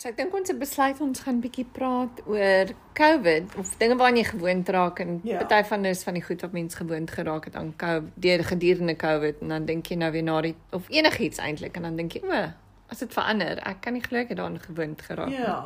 So ek dink ons het besluit ons gaan bietjie praat oor COVID of dinge waaraan jy gewoond raak en Ja. yeah. party van dis van die goed wat mens gewoond geraak het aan COVID deur gedurende COVID en dan dink jy nou weer na die of enigiets eintlik en dan dink jy o, as dit verander, ek kan nie glo ek het daaraan gewoond geraak nie." Ja.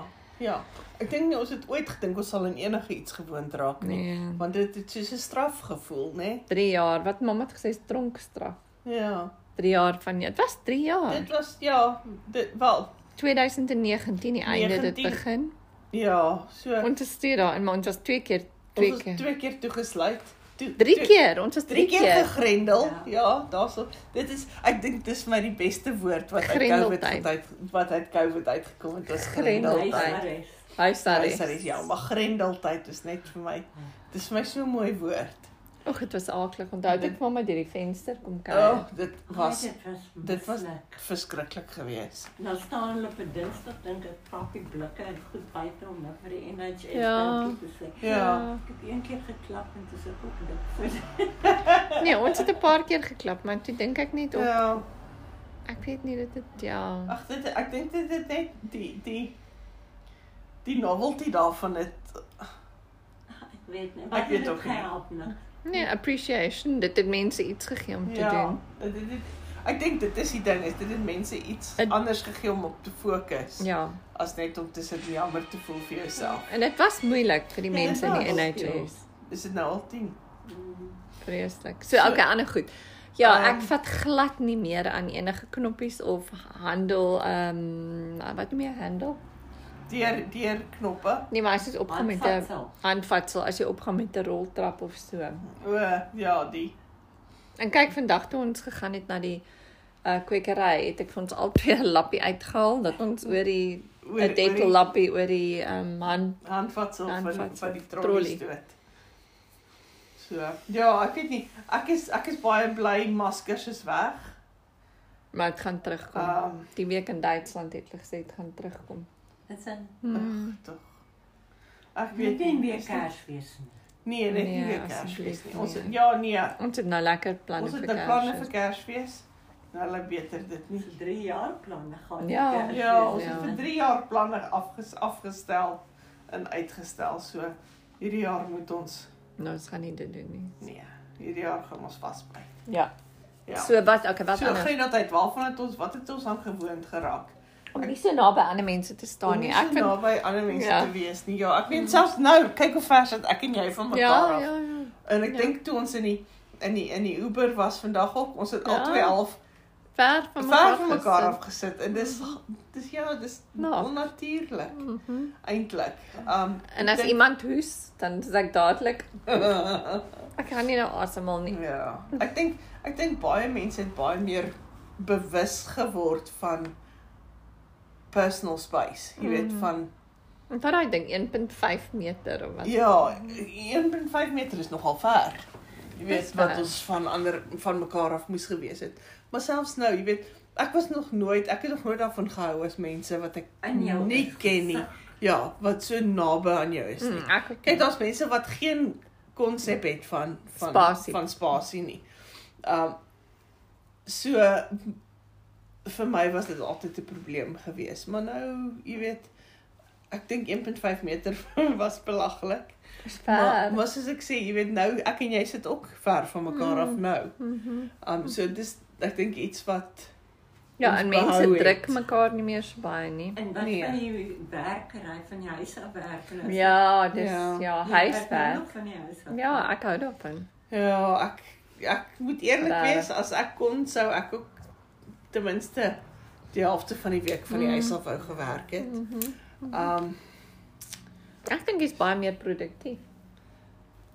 Ja. Ek dink nie ons het ooit gedink ons sal in enige iets gewoond raak nie, Nee. want dit het soos 'n straf gevoel, né? 3 jaar wat mamma het gesê is tronkstraf. Ja. 3 jaar van dit was 3 jaar. Dit was ja, dit wel. 2019 die einde dit 19. begin. Ja, so Ons is steeds daar en maar ons was twee keer twee ons is keer. twee keer toegesluit. Toe, Drie toe- keer, ons was Drie keer gegrendel. Ja. Ja, ja daarso. Dit is ek dink dis my die beste woord wat uit COVID Grendeltyd. uit wat uit COVID uitgekom het. Dis Grendeltyd. grendeltyd. Hy sorry. Sorry, sorry. Ja, maar grendeltyd is net vir my. Dis vir my so 'n mooi woord. Ag, dit was aaklig. Onthou dit kom maar deur die venster kom O, kyk. oh, dit was dit dit was was verskriklik geweest. nou staan hulle op 'n Dinsdag dink ek pappie blikke en goed buite om nou vir die NHS Ja. dankie te sê. Ja. Ek het een keer geklap en dis ek ook dik vir. Nee, ons het 'n paar keer geklap, maar toe dink ek net op ja. Ja. ek weet nie dit het ja. Ag dit ek dink dit dit net die die die novelty daarvan het Ek weet nie. Ek weet ook nie. Help nou. Nee, appreciation. Dit het mense iets gegee om te ja. ja, doen. dit, dit, dit, ek dink dit is die ding is dit het mense iets Het- het, anders gegee om op te fokus Ja. as net om te sit en jammer te voel vir jouself. En dit was moeilik vir die Ja, mense dit in die was, NHS. Is dit nou al 10? Mm. Vreeslik. So, okay, ander goed. Ja, Ehm. ek vat glad nie meer aan enige knoppies of handel ehm um, wat noem jy handel? Deur deur knoppe. Nee, maar as jy opgaan met 'n Handvatsel. handvatsel, as jy opgaan met 'n roltrap of so. O ja, die En kyk vandag toe ons gegaan het na die uh kwekery, het ek vir ons albei 'n lappie uitgehaal dat ons oor die oor- oor 'n die dental lappie oor die um hand handvatsel van Handvatsel, van die trolley. trollie stoot. So, ja, ek weet nie. Ek is ek is baie bly maskers is weg. maar dit gaan terugkom. Um, Ehm. die week in Duitsland het hulle gesê dit gaan terugkom. Dit is 'n Hmm. Tog. Ek weet weet nie weer is dit- Kersfees nie. Nee, net Nee, nie weer asseblief Kersfees nie. nie. Ons ja, nee. Ons het nou lekker planne Ons vir het nou planne vir Kersfees. Kersfees. Nou hulle beter dit nie. Dis 3 jaar planne gaan. Ja. Kersfees. Ja, ons Ja. het vir 3 jaar planne afges, afgestel en uitgestel. So hierdie jaar moet ons Nou ons gaan nie dit doen nie. nee, hierdie jaar gaan ons vasbly. Ja. Ja. So, So wat okay, wat so ander? grendeltyd, waarvan het ons wat het ons aan gewoond geraak? Om nie so naby ander mense te staan Om nie. nie Ek so vind naby ander mense Ja. te wees nie. Ja, ek weet selfs nou, kyk hoe ver sit ek en jy van mekaar ja, af. ja, ja. En ek Ja. ja. dink toe ons in die in die in die Uber was vandag ook, ons het ja. Ja, al twee half Ver van mekaar ver van mekaar gesit. af gesit en dis dis ja, dis Nou. nou. onnatuurlik Mhm. eintlik. Um En as ek iemand hoes, dan sê ek dadelik, dink- ek kan nie nou asemhaal nie. Ja. Ek dink ek dink baie mense het baie meer bewus geword van personal space. Jy weet Mhm. van En wat daai ding 1.5 meter of wat? ja, 1.5 meter is nogal ver. Dis Jy weet ver. wat ons van ander van mekaar af moes gewees het. Maar selfs nou, jy weet, ek was nog nooit, ek het nog nooit daarvan gehou as mense wat ek In jou nie ken nie. Ja, wat so naby aan jou is nie. Mm, ek ook. Kyk, nie. daar's mense wat geen konsep het van van Spasie. van spasie nie. Um so vir my was dit altyd 'n probleem gewees, maar nou, jy weet, ek dink 1.5 meter was belaglik. Dis Maar ver. maar soos ek sê, jy weet nou, ek en jy sit ook ver van mekaar af Mm. nou. Mhm. Um so dis ek dink iets wat Ja, ons en mense behou het. druk mekaar nie meer so baie nie. En wat Nee. van die werkery van die huis af werkery? Ja, dis ja, Ja. ja werk. huiswerk. Van die huis af. Ja, ek hou daarvan. ja, ek ek moet eerlik Daar. wees, as ek kon sou ek ook ten minste die helfte van die week van die Mm. huis af wou gewerk het. Mhm. Um Ek dink jy's baie meer produktief.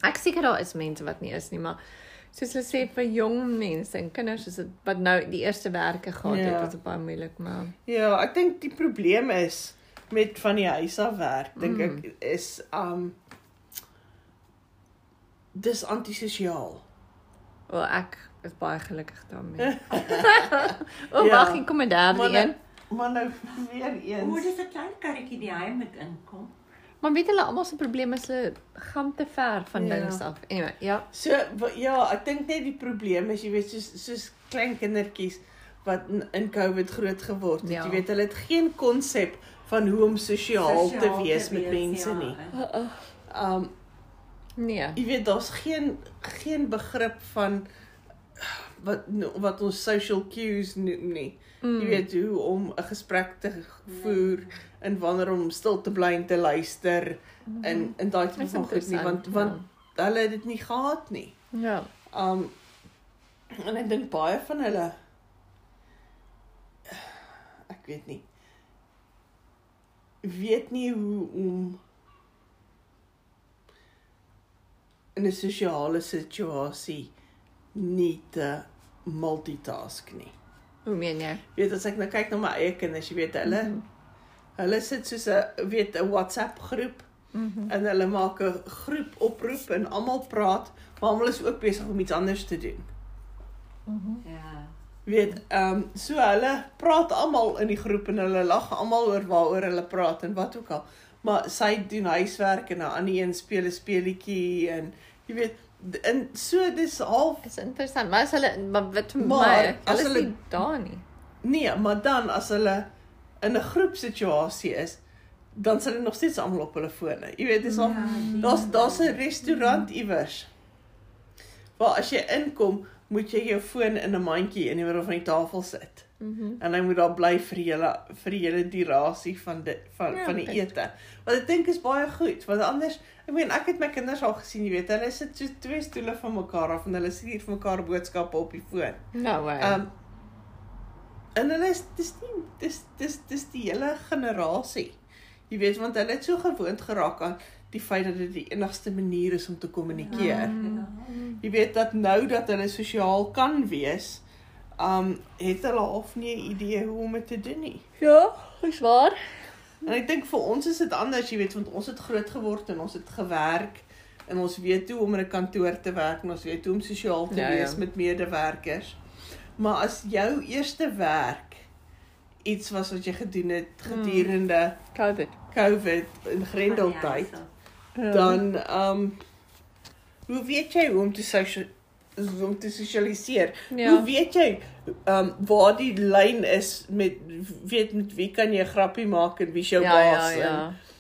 Ek seker daar is mense wat nie is nie, maar soos hulle sê vir jong mense en kinders is dit wat nou die eerste werke gehad het, Ja. was dit baie moeilik, maar ja, ek dink die probleem is met van die huis af werk, dink mm. ek is um dis antisosiaal. Wel ek is baie gelukkig daarmee. o, ja, Ja. wag, ek kom met daardie Maar nou- een. Maar nou weer Hoe eens. dis 'n klein karretjie die hy moet inkom. Maar weet hulle almal se probleem is hulle gaan te ver van Ja. ja. dinge af. Anyway, ja. So wa- ja, ek dink net die probleem is jy weet soos soos klein kindertjies wat in, in COVID groot geword het. Ja. Jy weet, hulle het geen konsep van hoe om sosiaal Ja, te Sosiaal wees met mense ja, nie. hè. Uh, uh, Um nee. jy weet daar's geen geen begrip van wat wat ons social cues noem nie. Mm. Jy weet hoe om 'n gesprek te Nee. voer en wanneer om stil te bly en te luister en en daai tipe Mhm. Dis van goed nie want Hmm. interessant, want hulle het dit nie gehad nie. ja. Um en ek dink baie van hulle ek weet nie weet nie hoe om in 'n sosiale situasie nie te multitask nie. Hoe meen jy? Weet as ek nou kyk na my eie kinders, jy weet hulle Mhm. hulle sit soos 'n weet 'n WhatsApp groep Mhm. en hulle maak 'n groep oproep en almal praat, maar almal is ook besig om iets anders te doen. Mhm. Ja. Weet, ehm um, so hulle praat almal in die groep en hulle lag almal oor waaroor hulle praat en wat ook al. Maar sy doen huiswerk en 'n ander een speel 'n speletjie en jy weet d- en so dis half Is interessant, maar as hulle maar wat vir Maar my, as hulle is hulle- nie daar nie. nee, maar dan as hulle in 'n groepsituasie is, dan sal hulle nog steeds almal op hulle fone. Jy weet, dis al Ja, die- Daar's daar's 'n restaurant iewers. Waar as jy inkom, moet jy jou foon in 'n mandjie in die middel van die tafel sit. Mhm. En hy moet daar bly vir die hele vir die hele durasie van dit van Ja, van die ek- ete. Wat ek dink is baie goed, want anders, ek meen ek het my kinders al gesien, jy weet, hulle sit so twee stoele van mekaar af en hulle stuur vir mekaar boodskappe op die foon. No way. Ehm um, en hulle is dis nie dis dis dis die hele generasie. Jy weet want hulle het so gewoond geraak aan die feit dat dit die enigste manier is om te kommunikeer. Ja. Jy weet dat nou dat hulle sosiaal kan wees, um het hulle half nie 'n idee hoe om dit te doen nie. ja, is waar. En ek dink vir ons is dit anders, jy weet, want ons het groot geword en ons het gewerk en ons weet hoe om in 'n kantoor te werk en ons weet hoe om sosiaal te Ja, ja, ja. wees ja. met medewerkers. Maar as jou eerste werk iets was wat jy gedoen het gedurende COVID. COVID en Ah, grendeltyd, ja. dan ehm um, hoe weet jy hoe om te sosia- hoe om te sosialiseer? Ja. Hoe Ja. weet jy ehm um, waar die lyn is met weet met wie kan jy 'n grappie maak en wie is jou ja, ja, baas? ja.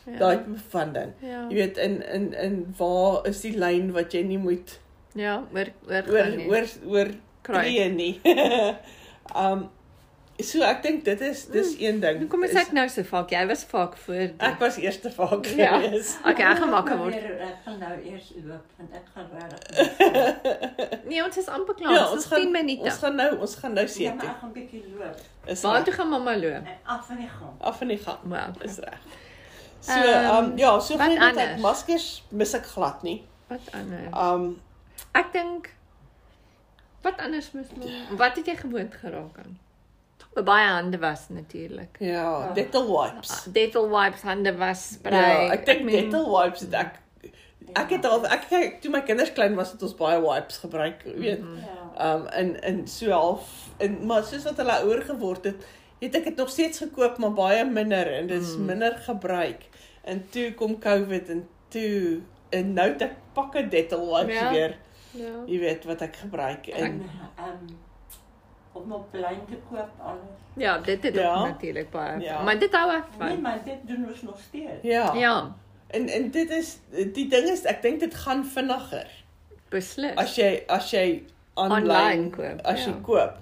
en Ja. Daai tipe van ding. Ja. Jy weet in in in waar is die lyn wat jy nie moet Ja, oor oor oor gaan nie. oor oor Kry. tree nie. um so ek dink dit is dis een ding. Nou kom ons Is- ek nou so vaak. Jy was vaak voor. die- ek was eerste vaak Ja. gewees. Okay, ek gaan makker word. Ek gaan nou eers oop want ek gaan regtig. Nee, ons is amper klaar. Ja, Ja, ons is 10 minute. Ons gaan nou, ons gaan nou Ja, maar seker. ek gaan 'n bietjie loop Is Waar reg. toe gaan mamma loop? en af van die gang. af in die gang. Wow. Is reg. So, Ehm, ehm um, ja, so wat geen dat ek anders? maskers mis ek glad nie. Wat anders? Um Ek dink wat anders mis my. Wat het jy gewoond geraak aan? Baie hande was natuurlik. ja, dental wipes. Dental wipes, hande was, Mm. spray. Ja, ek dink meen- dental wipes het ek ek het al ek kyk toe my kinders klein was het ons baie wipes gebruik, jy weet. Ja. Um in in so half in maar soos wat hulle ouer geword het, het ek dit nog steeds gekoop maar baie minder en dit is minder gebruik. En toe kom COVID en toe en nou het ek pakke dental wipes Ja. ja. weer, Ja. jy weet wat ek gebruik en Ehm om op plein te koop alles. Ja, dit het ja. Ja. ook natuurlik baie. Ja. Ja. Maar dit hou ek Nee, van. maar dit doen ons nog steeds. ja. ja. Ja, En en dit is die ding is ek dink dit gaan vinniger. beslis. as jy as jy online, Online koop, as jy ja. koop.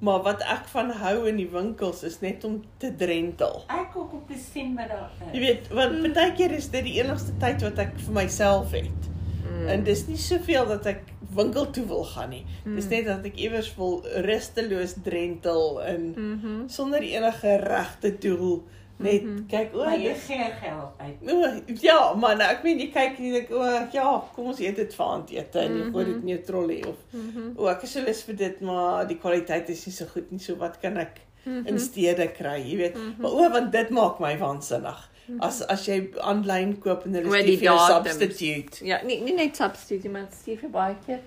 Maar wat ek van hou in die winkels is net om te drentel. Ek ook op die sien met daai. Jy weet, want baie keer is dit die enigste tyd wat ek vir myself het. Mm. ja. En dis nie soveel dat ek winkel toe wil gaan nie. Mm. Dis net dat ek iewers wil rusteloos drentel en mm Mhm. -hmm. sonder enige regte doel net mm -hmm. kyk o, Maar jy dis gee geld uit. O, ja, maar nou, ek meen jy kyk en jy dink o, ja, kom ons eet dit vir aandete en jy gooi dit in jou trolley of mm mhm, -hmm. o, ek is so lus vir dit, maar die kwaliteit is nie so goed nie, so wat kan ek mhm. mm -hmm. Mhm. in steede kry, jy weet. Mm -hmm. Maar o, want dit maak my waansinnig. Mhm. As as jy aanlyn koop en hulle Oor sê die vir jou datums. substitute. Ja, nie nie net substitute, maar stuur vir baie keer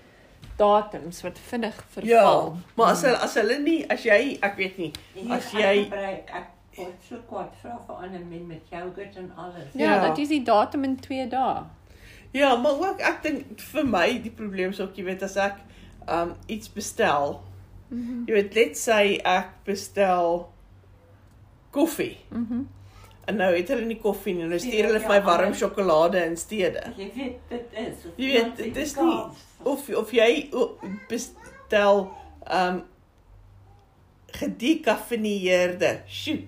datums wat vinnig Ja, verval. maar as hulle as hulle nie as jy ek weet nie, Hier, as ek jy gebruik ek word so kwaad vra vir ander men met yoghurt en alles. Ja, ja Ja. dat is die datum in 2 dae. Ja, maar ook ek dink vir my die probleem is ook jy weet as ek um iets bestel Mhm. Jy weet, let's say ek bestel koffie Mhm. en nou het hulle nie koffie nie. Nou Ja, stuur hulle vir my ja, warm ander- sjokolade in steede. Jy weet dit is. Jy weet, dit is nie- of of jy o- bestel um gedekafineerde sjoe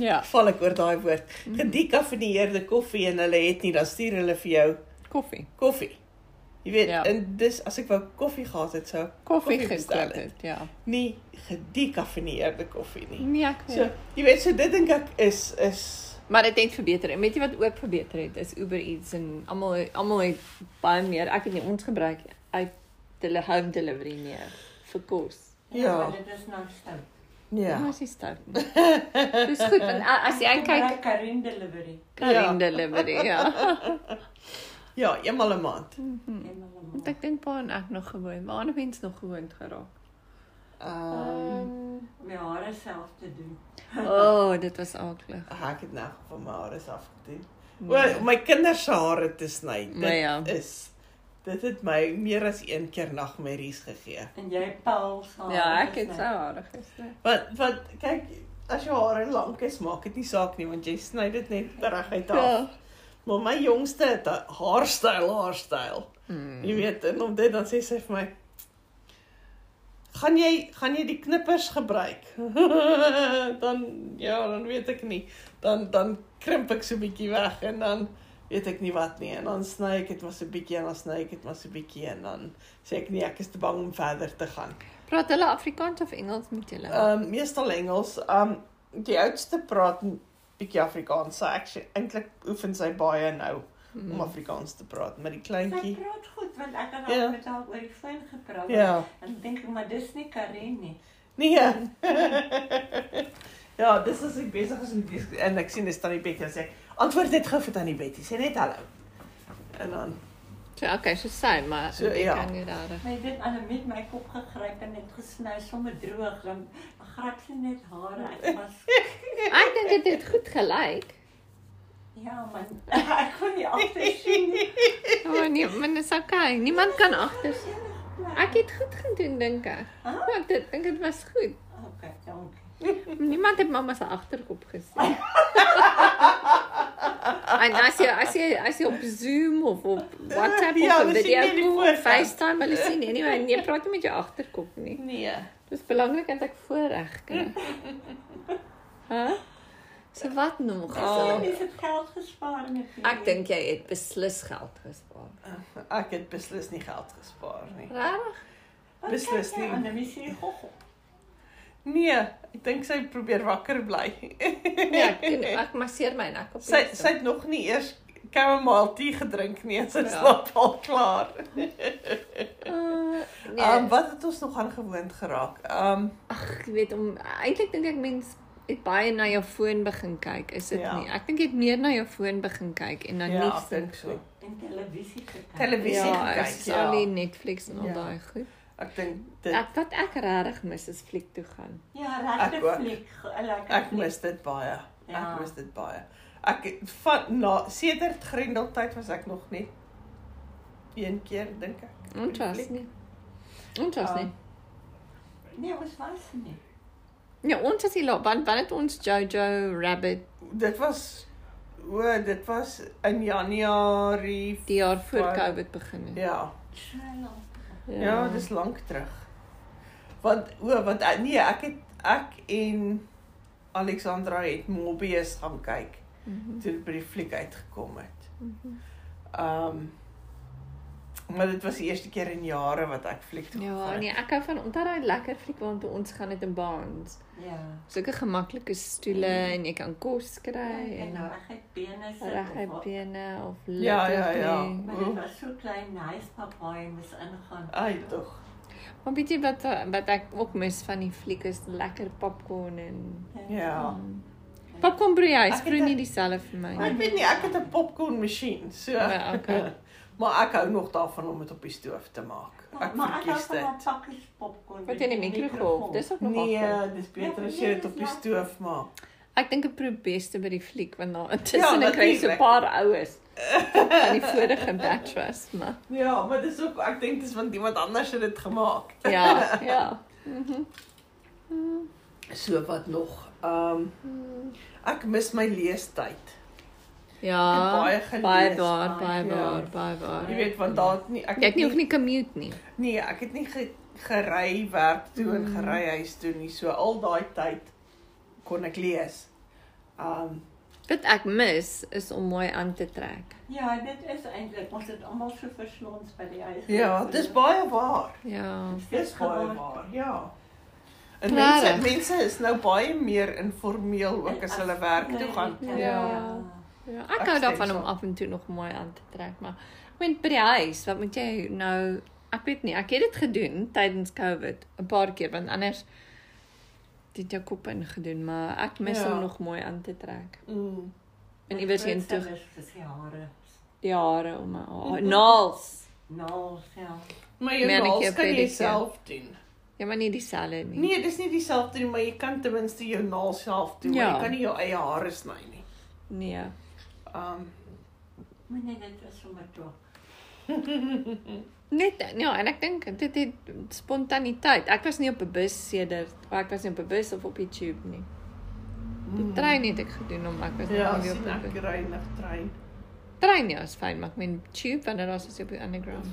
Ja, val ek oor daai woord Mhm. gedekafineerde koffie en hulle het nie dan stuur hulle vir jou koffie. koffie jy weet Ja. ja. en dis as ek wou koffie gehad het sou ek Koffie Koffie bestel gekoop het, ja. nie gedekafineerde koffie nie Nee, ek weet. so jy weet so dit dink ek is is Maar dit het verbeter. En weet jy wat ook verbeter het is Uber Eats en almal almal het baie meer. Ek het nie ons gebruik uit hulle home delivery meer vir kos. Ja. maar Dit is nou stout. ja Maar dis stout. nie. Dis goed want a- as jy kyk Karin delivery. Karin delivery, ja. ja eenmal 'n maand Mhm. en hulle Want maak. Ek dink pa en ek nog gewoon. Maar ander mense nog gewoond geraak. um, Um, My hare self te doen. o, oh, dit was aaklig. ek het nou van my hare af gedoen Nee. Wel, my kinders se hare te sny. Dit Maar ja. is dit het my meer as een keer nagmerries gegee. En jy pel saam. Ja, Oh, ek het so harde gister. Want want kyk, as jou hare lank is, maak dit nie saak nie want jy sny dit net reguit af. Ja. Maar my jongste het 'n haarstyl, haarstyl. Mm. Jy weet, en om dit dan sê sy vir my Gaan jy gaan jy die knippers gebruik? dan ja, dan weet ek nie. Dan dan krimp ek so 'n bietjie weg en dan weet ek nie wat nie en dan sny ek dit maar so 'n bietjie en dan sny ek dit maar so 'n bietjie en dan sê ek nee, ek is te bang om verder te gaan. Praat hulle Afrikaans of Engels met julle? Ehm um, meestal Engels. Ehm um, die oudste praat 'n bietjie Afrikaans. Sy actually eintlik oefen sy baie nou om Mm. Afrikaans te praat, maar die Sy kleintjie praat goed want ek het Ja. al met haar oor die foon gepraat. ja. En dink ek maar dis nie Karen nie. Nee. ja, dis is ek besig is met die en ek sien dis tannie Betty en sê ek, antwoord net gou vir tannie Betty. Sê net hallo. En dan So, okay, so sy, maar So, ek ja. kan nie daar. Maar jy weet aan met my kop gegryp en net gesny sommer droog dan grap sy net hare. Ek was Ek dink dit het goed gelyk. ja man, ek kon nie altyd sien nie. O oh, nee, maar dis okay. Niemand kan agter. Ek Ek het goed gedoen dink ek. Huh? Want dit dink dit was goed. Okay, dankie. Niemand het mamma se agterkop gesien. en as jy as jy as jy op Zoom of op WhatsApp Ja, of op hulle sien video nie die call of voorkant. FaceTime, hulle sien nie anyway, nee, praat nie met jou agterkop nie. nee. Dis belangrik dat ek voorreg kry. Hæ? Huh? So wat nog? Sy Oh, het net geld gespaar met die- ek dink jy het beslis geld gespaar. Ek het beslis nie geld gespaar nie. Regtig? Wat beslis kyk jy nie. Oh, aan? Dan is jy gogo. Nee, ek dink sy probeer wakker bly. Nee, ek doen ek masseer my nek op. Sy die- sy het nog nie eers chamomile tee gedrink nie en sy Ja. slaap al klaar. Uh, nee, Ehm um, um, wat het ons nog aan gewoond geraak? Ehm um, ek weet om eintlik dink ek mens het baie na jou foon begin kyk, is dit ja. Ja. nie? Ek dink jy het meer na jou foon begin kyk en dan ja, Nou, niks ek dink so. En televisie gekyk. Televisie gekyk, is ja. al die Netflix en al ja. Ja. daai goed. Ek dink dit Ek wat ek regtig mis is fliek toe gaan. Ja, Ek regte ook. fliek, 'n lekker Ek fliek. mis dit baie. Ek Ja. mis dit baie. Ek van na sedert Grendeltyd was ek nog net een keer dink ek. Ons was Fliek? nie. Ons was Ah. nie. Nee, ons was nie. Ja, ons was die laat want wanneer het ons Jojo Rabbit Dit was o, dit was in Januarie. die jaar voor Waar- COVID begin het. Ja. Shalom. Ja, dis lank terug. Want o, want eh, nee, ek het ek en Alexandra het Mobius gaan kyk Mhm. toe dit by die fliek uitgekom het. Mhm. Um maar dit was die eerste keer in jare wat ek fliek toe Ja, gegaan het. nee, ek hou van onthou daai lekker fliek waartoe ons gaan het in Baans. Ja. Sulke gemaklike stoele Mm. en jy kan kos kry En en nou ek het bene sit. reguit of- bene of Ja, ja, lekker ja. plek. Maar dit was so klein, nice papa en mis ingaan. Ai tog. Maar weet jy wat wat ek ook mis van die fliek is lekker popcorn en Ja. popcorn broeihuis Ek het vroeg een- nie dieselfde vir my Maar nie. ek weet nie, ek het 'n popcorn masjien, so. Maar okay. maar ek hou nog daarvan om dit op die stoof te maak. Ek maar ek verkies het dit. al pakkies popcorn. Wat in die mikrogolf, dis ook nog af. Nee, dis beter as jy dit op die stoof maak. Ek dink ek probeer beste by die fliek want daar intussen Ja, ja, kry jy so 'n natuurlijk. paar oues van die vorige batch was, maar Ja, maar dis ook ek dink dis want iemand anders het dit gemaak. ja, ja. So wat nog? Ehm ek mis my leestyd. Ja. Ek het baie Baie gelees, waar, baie baie, ja. waar, baie waar. Jy weet want daar het nie ek Jy het het nie hoef nie commute nie. Mm. nee, ek het nie ge, gery werk toe en gery huis toe nie. So al daai tyd kon ek lees. Ehm Wat ek mis is om mooi aan te trek. Ja, dit is eintlik ons het almal so verslons by die huis. ja, dis baie waar. Ja. Dis baie waar. Ja. En mense Regtig? mense is nou baie meer informeel ook as hulle werk toe gaan. Ja. Ja, ek Ek hou stem daarvan om saam. af en toe nog mooi aan te trek, maar ek meen by die huis, wat moet jy nou ek weet nie, ek het dit gedoen tydens COVID 'n paar keer want anders het dit jou kop ingedoen, maar ek mis ja. Ja. om nog mooi aan te trek. Mm. En iewers heen toe Dis jare. jare om my haar- naels. Nou, ja. Maar jy Manicure, naels kan jy pedicure. self doen. Ja, maar nie dieselfde nie. Nee, dis nie dieselfde nie, maar jy kan ten minste jou naels self doen. Ja. Ja. Jy kan nie jou eie hare sny nie. Nee. Um Moenie dit is sommer toe. Net ja, en ek dink dit het spontaniteit. Ek was nie op 'n bus sedert, maar ek was nie op 'n bus of op die tube nie. Die trein het ek gedoen om ek was nog Mm. Ja, nie sien op 'n ek bus. ry nog trein. Trein ja, is fyn, maar ek meen tube wanneer daar is op die underground.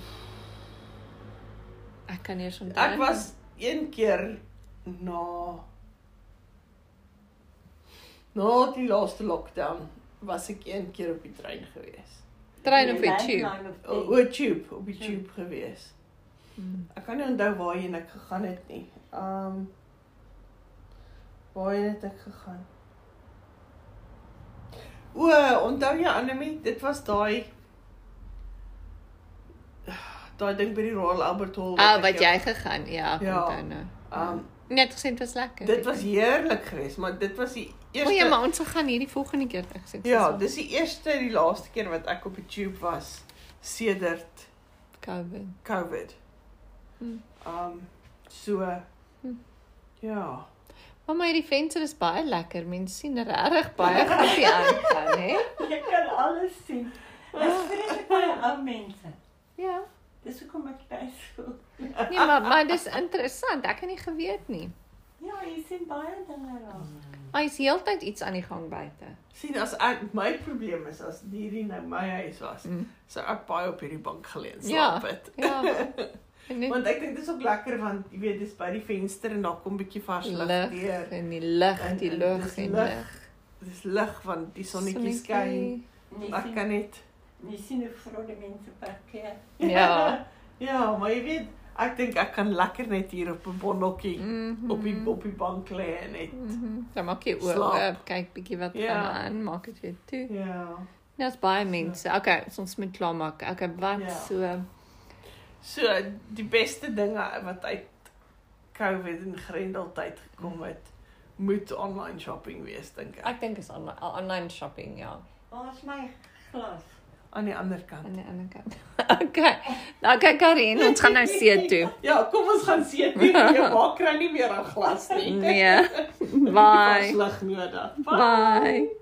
Ek kan eers onthou. Ek was een keer na na die laaste lockdown was ek een keer op die trein gewees. trein op die tube. O, Hm. o tube, op die tube gewees. Mm. Ek kan nie onthou waarheen ek gegaan het nie. Um waarheen het ek gegaan? O, onthou jy Anemie, dit was daai daai ding by die Royal Albert Hall. Ah, ek wat jou- jy gegaan. Ja, ek Ja. onthou nou. Um Net gesê dit was lekker. dit was heerlik geweest, maar dit was die O eerste ja, maar ons gaan hierdie volgende keer ek sê. Ja, dis die eerste en die laaste keer wat ek op die tube was sedert COVID. COVID. Hmm. Um so Hmm. ja. Maar my hierdie venster is baie lekker. Mense sien regtig baie goed hier aangaan, hè? Jy kan alles sien. Ah. Dis vreeslik baie ou mense. Ja. Dis hoekom ek tuis voel. Nee, maar maar dis interessant. Ek het nie geweet nie. Ja, jy sien baie dinge raak. Mm. Maar is heeltyd iets aan die gang buite. sien as ek my probleem is as hierdie nou my huis was, Mm. sou ek baie op hierdie bank geleen Ja. slaap het. Ja. En net Want ek dink dit is ook lekker want jy weet dis by die venster en daar kom 'n bietjie vars lug lig deur. en die lig, En- die en lug dis en lig. lig. Dis lig want die sonnetjie skyn. En Jy Ek sien, kan net jy sien hoe vrome mense parkeer. Ja. ja, maar jy weet, ek dink ek kan lekker net hier op 'n bondeltjie Mhm. op die op die bank lê en net Mhm. Dan maak jy oor, Slaap. oor kyk bietjie wat gaan Ja. aan, maak dit weer toe. ja. Daar's baie mense. Okay, so ons moet klaar maak. Okay, wat Ja. so So die beste dinge wat uit COVID en Grendeltyd gekom het, moet online shopping wees dink Hmm. ek. ek dink is online, online shopping, ja. Waar's my glas? Aan die ander kant. Aan die ander kant. Okay. Okay, Karin, ons gaan nou see toe. Ja, kom ons gaan seet nie. Jy maak kry nie meer 'n glas nie. Nee. Jy het Bye. vaslig nodig. Bye. Bye.